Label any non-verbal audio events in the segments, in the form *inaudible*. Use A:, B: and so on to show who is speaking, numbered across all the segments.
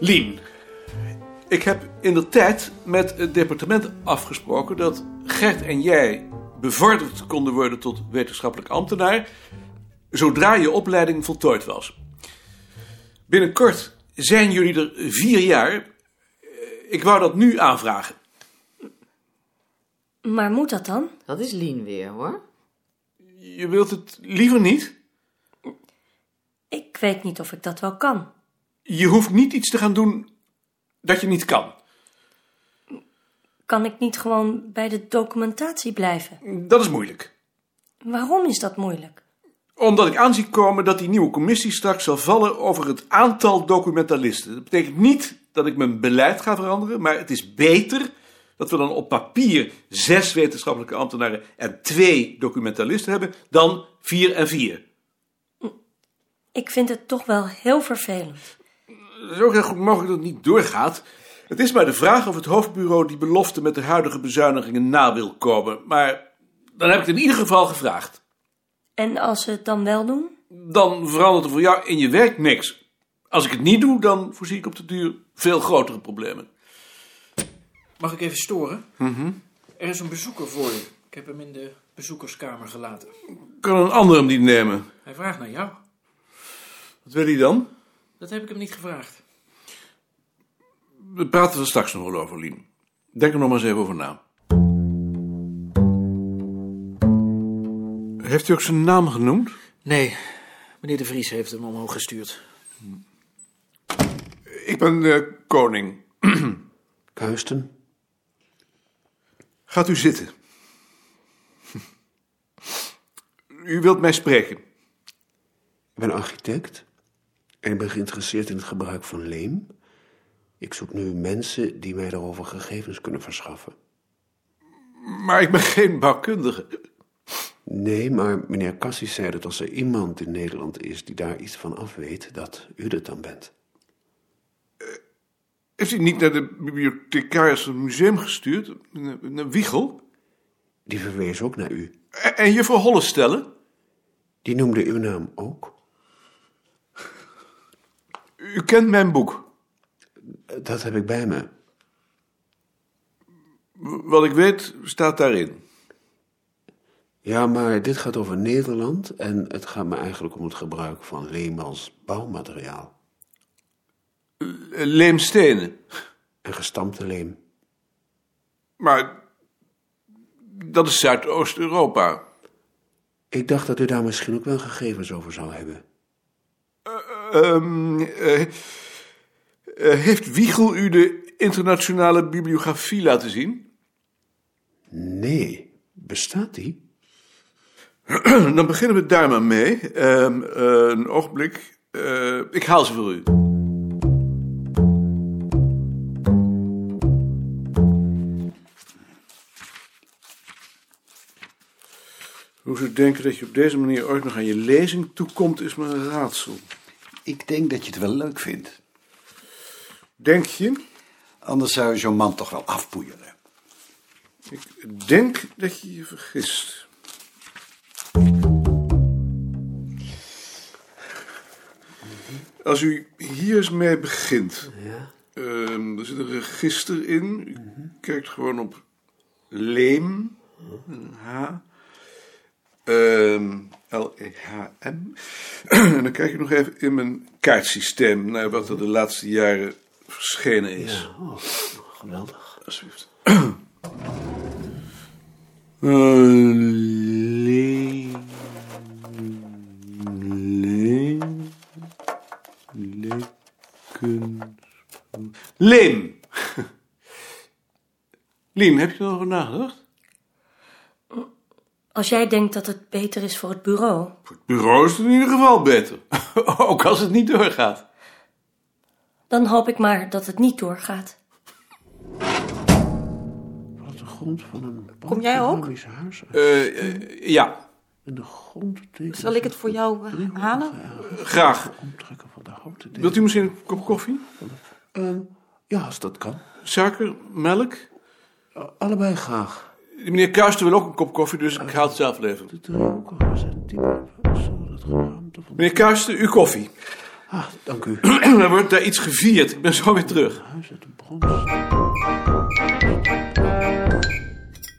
A: Lien, ik heb in de tijd met het departement afgesproken dat Gert en jij bevorderd konden worden tot wetenschappelijk ambtenaar zodra je opleiding voltooid was. Binnenkort zijn jullie er vier jaar. Eh, Ik wou dat nu aanvragen.
B: Maar moet dat dan?
C: Dat is Lien weer, hoor.
A: Je wilt het liever niet?
B: Ik weet niet of ik dat wel kan.
A: Je hoeft niet iets te gaan doen dat je niet kan.
B: Kan ik niet gewoon bij de documentatie blijven?
A: Dat is moeilijk.
B: Waarom is dat moeilijk?
A: Omdat ik aanzie komen dat die nieuwe commissie straks zal vallen over het aantal documentalisten. Dat betekent niet dat ik mijn beleid ga veranderen, maar het is beter dat we dan op papier zes wetenschappelijke ambtenaren en twee documentalisten hebben dan vier en vier.
B: Ik vind het toch wel heel vervelend.
A: Het is ook heel goed mogelijk dat het niet doorgaat. Het is maar de vraag of het hoofdbureau die belofte met de huidige bezuinigingen na wil komen. Maar dan heb ik het in ieder geval gevraagd.
B: En als ze het dan wel doen?
A: dan verandert er voor jou in je werk niks. Als ik het niet doe, dan voorzie ik op de duur veel grotere problemen.
D: Mag ik even storen? Er is een bezoeker voor je. Ik heb hem in de bezoekerskamer gelaten.
A: Kan een ander hem niet nemen?
D: Hij vraagt naar jou.
A: Wat wil hij dan?
D: Dat heb ik hem niet gevraagd.
A: We praten er straks nog wel over, Lien. Denk er nog maar eens even over na. Heeft u ook zijn naam genoemd?
D: Nee, meneer De Vries heeft hem omhoog gestuurd.
A: Ik ben de koning.
E: Kuisten?
A: Gaat u zitten. U wilt mij spreken.
E: Ik ben architect en ik ben geïnteresseerd in het gebruik van leem. Ik zoek nu mensen die mij daarover gegevens kunnen verschaffen.
A: Maar ik ben geen bouwkundige.
E: Nee, maar meneer Cassis zei dat als er iemand in Nederland is die daar iets van af weet, dat u dat dan bent.
A: Heeft u niet naar de bibliothecaris van het museum gestuurd? Naar- Naar Wiegel?
E: Die verwees ook naar u.
A: En, en juffrouw Hollestellen?
E: Die noemde uw naam ook.
A: U kent mijn boek.
E: Dat heb ik bij me.
A: Wat ik weet staat daarin.
E: Ja, maar dit gaat over Nederland en het gaat me eigenlijk om het gebruik van leem als bouwmateriaal.
A: Eh, Leemstenen.
E: En gestampte leem.
A: Maar dat is Zuidoost-Europa.
E: Ik dacht dat u daar misschien ook wel gegevens over zou hebben.
A: Ehm, eh, eh, heeft Wiegel u de internationale bibliografie laten zien?
E: Nee, bestaat die?
A: *clears throat* Dan beginnen we daar maar mee. Ehm, eh, een ogenblik. Eh, ik haal ze voor u. Hoe ze denken dat je op deze manier ooit nog aan je lezing toekomt, is me een raadsel.
F: Ik denk dat je het wel leuk vindt.
A: Denk je?
F: Anders zou je zo'n man toch wel afpoeieren.
A: Ik denk dat je je vergist. Als u hier eens mee begint, ehm, er zit een register in. U kijkt gewoon op leem, een H, ehm, L-E-H-M. *clears throat* en dan kijk ik nog even in mijn kaartsysteem naar wat er de laatste jaren verschenen is.
E: Geweldig.
A: Alsjeblieft. *clears throat* Eh, Leem. Leem. Lekken. Leem. *laughs* Lien, heb je erover nagedacht?
B: Als jij denkt dat het beter is voor het bureau,
A: Voor het bureau is het in ieder geval beter. *laughs* Ook als het niet doorgaat.
B: dan hoop ik maar dat het niet doorgaat.
E: Wat de grond van een.
G: Kom jij ook?
E: Panoramisch Huis.
A: Eh, eh, ja,
E: En de grond tekent
G: Zal ik het voor jou eh, halen?
A: graag.
E: het omtrekken van de houten delen.
A: Wilt u misschien een kop koffie?
E: Ehm, ja, als dat kan.
A: Suiker? Melk?
E: Allebei graag.
A: Meneer Kuister wil ook een kop koffie, dus ik ga het zelf leveren.
E: De drie hoeken zijn diep. Zo dat geraamte van.
A: Meneer Kuister, uw koffie. *clears throat*
E: Ah, dank u.
A: Er wordt daar iets gevierd. Ik ben zo weer terug.
E: Huis uit de brons.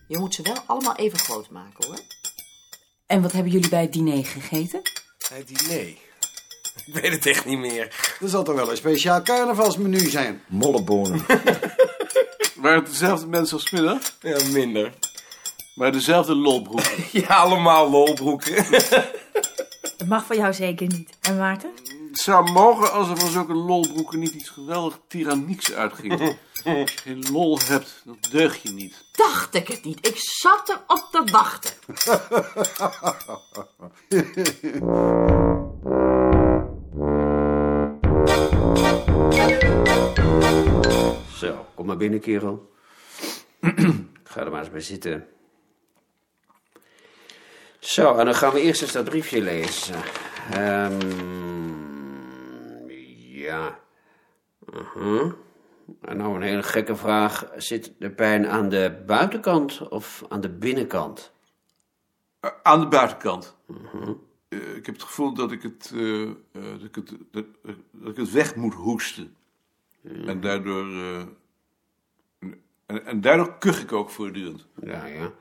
C: Je moet ze wel allemaal even groot maken hoor.
H: En wat hebben jullie bij het diner gegeten?
I: Het diner. Ik weet het echt niet meer.
F: Er zal toch wel een speciaal carnavalsmenu zijn?
J: Mollebonen.
A: Waren het dezelfde mensen als middag?
I: Ja, minder.
A: Maar dezelfde lolbroek.
I: Ja, allemaal lolbroeken.
K: Dat mag van jou zeker niet. En Maarten?
A: Het zou mogen als er van zulke lolbroeken niet iets geweldig tyrannieks uitging. Als je geen lol hebt, dan deug je niet.
C: Dacht ik het niet. Ik zat erop te wachten.
E: Zo, kom maar binnen, kerel. *clears throat* Ga er maar eens bij zitten. Zo, en dan gaan we eerst eens dat briefje lezen. Ehm, ja. Mhm. En nou een hele gekke vraag. Zit de pijn aan de buitenkant of aan de binnenkant?
A: Eh, Aan de buitenkant. Eh, ik heb het gevoel dat ik het, eh, eh, dat ik het, dat, eh, dat ik het weg moet hoesten. En daardoor. eh, en, en daardoor kuch ik ook voortdurend.
E: Ja, ja.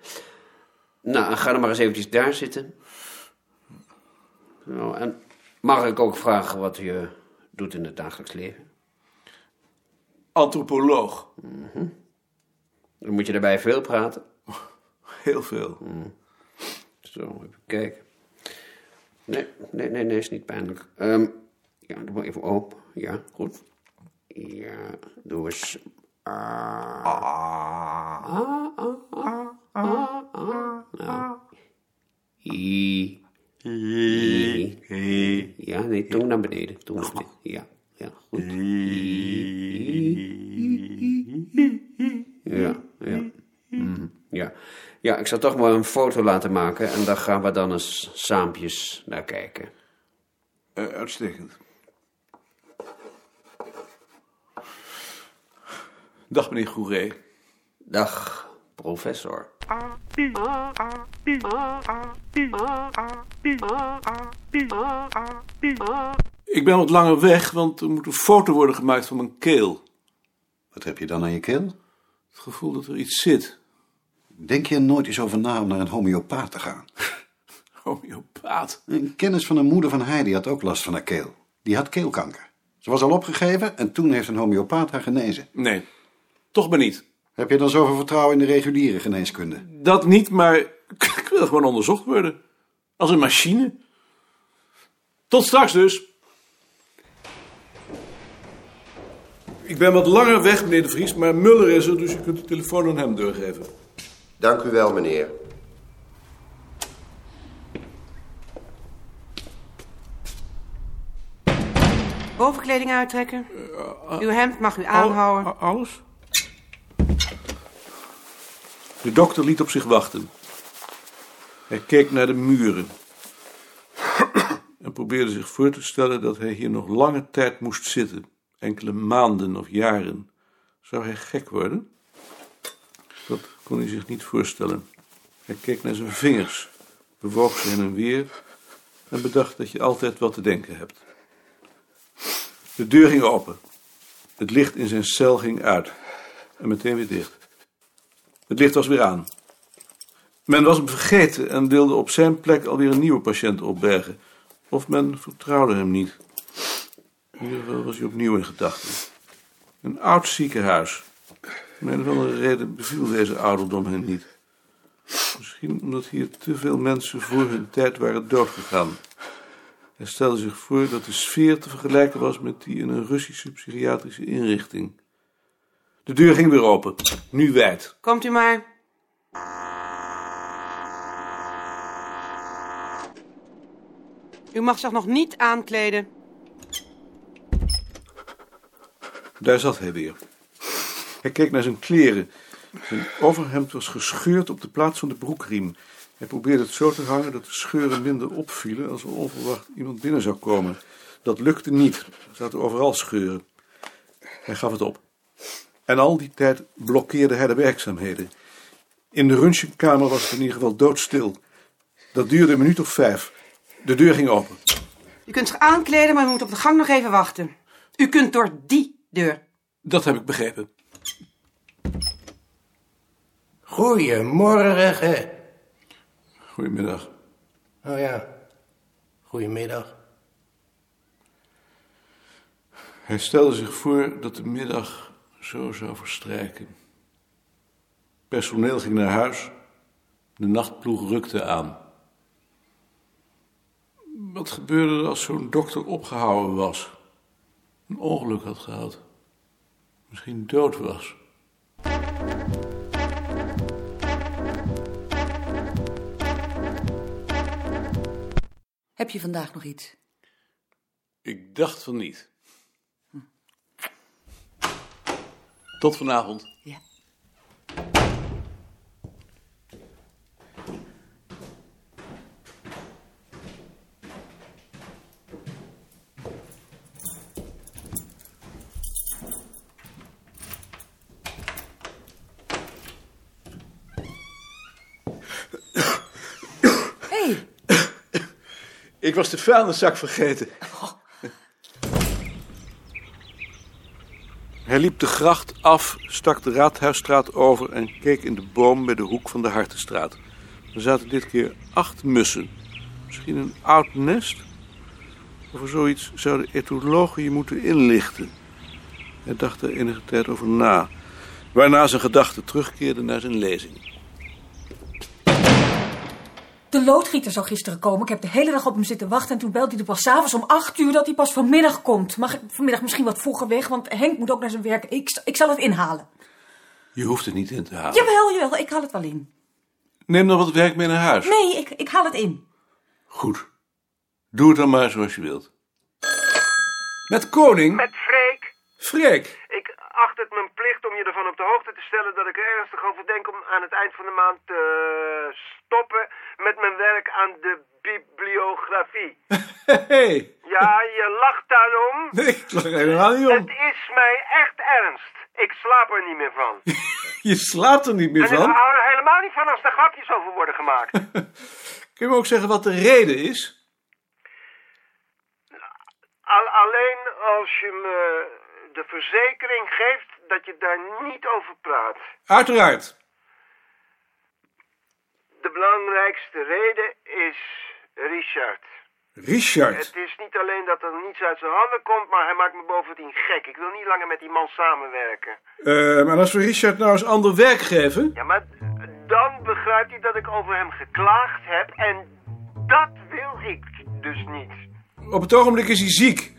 E: Nou, ga dan maar eens eventjes daar zitten. Nou, en mag ik ook vragen wat je doet in het dagelijks leven?
A: Antropoloog.
E: Dan moet je daarbij veel praten.
A: Heel veel.
E: Zo, even kijken. Nee, nee, nee, nee, is niet pijnlijk. Ehm, ja, doe maar even open. Ja, goed. Ja, doe eens. Ah. Ah, ah, ah, ah, ah. Nou. I. I. Ja, nee, tong naar beneden. Tong naar beneden. Ja, ja, goed. Ja, ja. Ja. ja, ik zal toch maar een foto laten maken en daar gaan we dan eens saampjes naar kijken.
A: Eh, uitstekend. Dag meneer Goeree.
E: Dag, professor.
A: Ik ben wat langer weg, want er moet een foto worden gemaakt van mijn keel.
F: Wat heb je dan aan je keel?
A: Het gevoel dat er iets zit. *laughs*
F: Denk je er nooit eens over na om naar een homeopaat te gaan?
A: Homeopaat.
F: Een kennis van een moeder van Heidi had ook last van haar keel. Die had keelkanker. Ze was al opgegeven en toen heeft een homeopaat haar genezen.
A: Nee, toch maar niet.
F: Heb je dan zoveel vertrouwen in de reguliere geneeskunde?
A: Dat niet, maar *laughs* ik wil gewoon onderzocht worden. Als een machine. Tot straks dus. Ik ben wat langer weg, meneer De Vries, maar Muller is er, dus u kunt de telefoon aan hem doorgeven.
L: Dank u wel, meneer.
K: Bovenkleding uittrekken. Uw hemd mag u aanhouden.
A: Al- alles? De dokter liet op zich wachten. Hij keek naar de muren. En probeerde zich voor te stellen dat hij hier nog lange tijd moest zitten. Enkele maanden of jaren. Zou hij gek worden? Dat kon hij zich niet voorstellen. Hij keek naar zijn vingers, bewoog ze heen en weer en bedacht dat je altijd wat te denken hebt. De deur ging open. Het licht in zijn cel ging uit en meteen weer dicht. Het licht was weer aan. Men was hem vergeten en wilde op zijn plek alweer een nieuwe patiënt opbergen. Of men vertrouwde hem niet. In ieder geval was hij opnieuw in gedachten. Een oud ziekenhuis. Om een of andere reden beviel deze ouderdom hen niet. Misschien omdat hier te veel mensen voor hun tijd waren doodgegaan. Hij stelde zich voor dat de sfeer te vergelijken was met die in een Russische psychiatrische inrichting. De deur ging weer open, nu wijd.
K: Komt u maar. U mag zich nog niet aankleden.
A: Daar zat hij weer. Hij keek naar zijn kleren. Zijn overhemd was gescheurd op de plaats van de broekriem. Hij probeerde het zo te hangen dat de scheuren minder opvielen als er onverwacht iemand binnen zou komen. Dat lukte niet. Er zaten overal scheuren. Hij gaf het op. En al die tijd blokkeerde hij de werkzaamheden. In de röntgenkamer was het in ieder geval doodstil. Dat duurde een minuut of vijf. De deur ging open.
K: U kunt zich aankleden, maar u moet op de gang nog even wachten. U kunt door die deur.
A: Dat heb ik begrepen.
I: Goedemorgen.
A: Goedemiddag.
I: Oh ja. Goedemiddag.
A: Hij stelde zich voor dat de middag zo zou verstrijken. Personeel ging naar huis. De nachtploeg rukte aan. Wat gebeurde er als zo'n dokter opgehouden was? Een ongeluk had gehad. Misschien dood was.
H: Heb je vandaag nog iets?
A: Ik dacht van niet. Tot vanavond.
H: Ja. hey,
A: Ik was de vuilniszak vergeten. *laughs* Hij liep de gracht af, stak de Raadhuisstraat over en keek in de boom bij de hoek van de Hartenstraat. Er zaten dit keer acht mussen. Misschien een oud nest? Over zoiets zouden etologen je moeten inlichten. Hij dacht er enige tijd over na, waarna zijn gedachten terugkeerden naar zijn lezing.
H: de loodgieter zou gisteren komen. Ik heb de hele dag op hem zitten wachten. En toen belt hij er pas avonds om acht uur dat hij pas vanmiddag komt. Mag ik vanmiddag misschien wat vroeger weg? Want Henk moet ook naar zijn werk. Ik, ik zal het inhalen.
A: Je hoeft het niet in te halen.
H: Jawel, jawel. Ik haal het wel in.
A: Neem dan wat werk mee naar huis.
H: Nee, ik, ik haal het in.
A: Goed. Doe het dan maar zoals je wilt. Met koning?
J: Met Freek.
A: Freek.
J: Ik acht het mijn plicht om je ervan op de hoogte te stellen dat ik er ernstig over denk om aan het eind van de maand te stoppen met mijn werk aan de bibliografie.
I: *laughs*
A: Hey.
J: Ja, je lacht daarom.
A: Nee, ik lag helemaal niet om.
J: Het is mij echt ernst. Ik slaap er niet meer van.
A: Je slaapt er niet meer
J: En ik
A: van.
J: hou er helemaal niet van als er grapjes over worden gemaakt.
A: Kun je me ook zeggen wat de reden is?
J: Al- alleen als je me de verzekering geeft dat je daar niet over praat.
A: Uiteraard.
J: De belangrijkste reden is Richard.
A: Richard.
J: Het is niet alleen dat er niets uit zijn handen komt, maar hij maakt me bovendien gek. Ik wil niet langer met die man samenwerken.
A: Eh, maar als we Richard nou eens ander werk geven...
J: Ja, maar dan begrijpt hij dat ik over hem geklaagd heb en dat wil ik dus niet.
A: Op het ogenblik is hij ziek.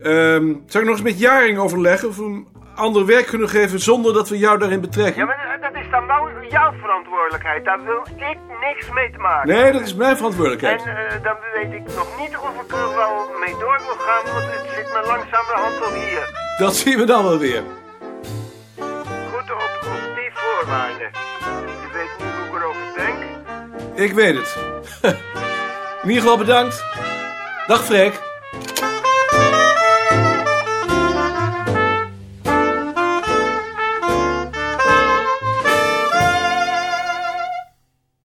A: Ehm zou ik nog eens met Jaring overleggen of we hem ander werk kunnen geven zonder dat we jou daarin
J: Ja,
A: betrekken?
J: maar dat is dan wel jouw verantwoordelijkheid. Daar wil ik niks mee te maken.
A: Nee, dat is mijn
J: En
A: verantwoordelijkheid.
J: eh, dan weet ik nog niet of ik er wel mee door wil gaan, want het zit me langzamerhand al hier.
A: Dat zien we dan wel weer.
J: Goed op, op die voorwaarden. Je weet nu hoe ik erover denk.
A: *laughs* Ik weet het. In ieder geval bedankt. Dag Freek.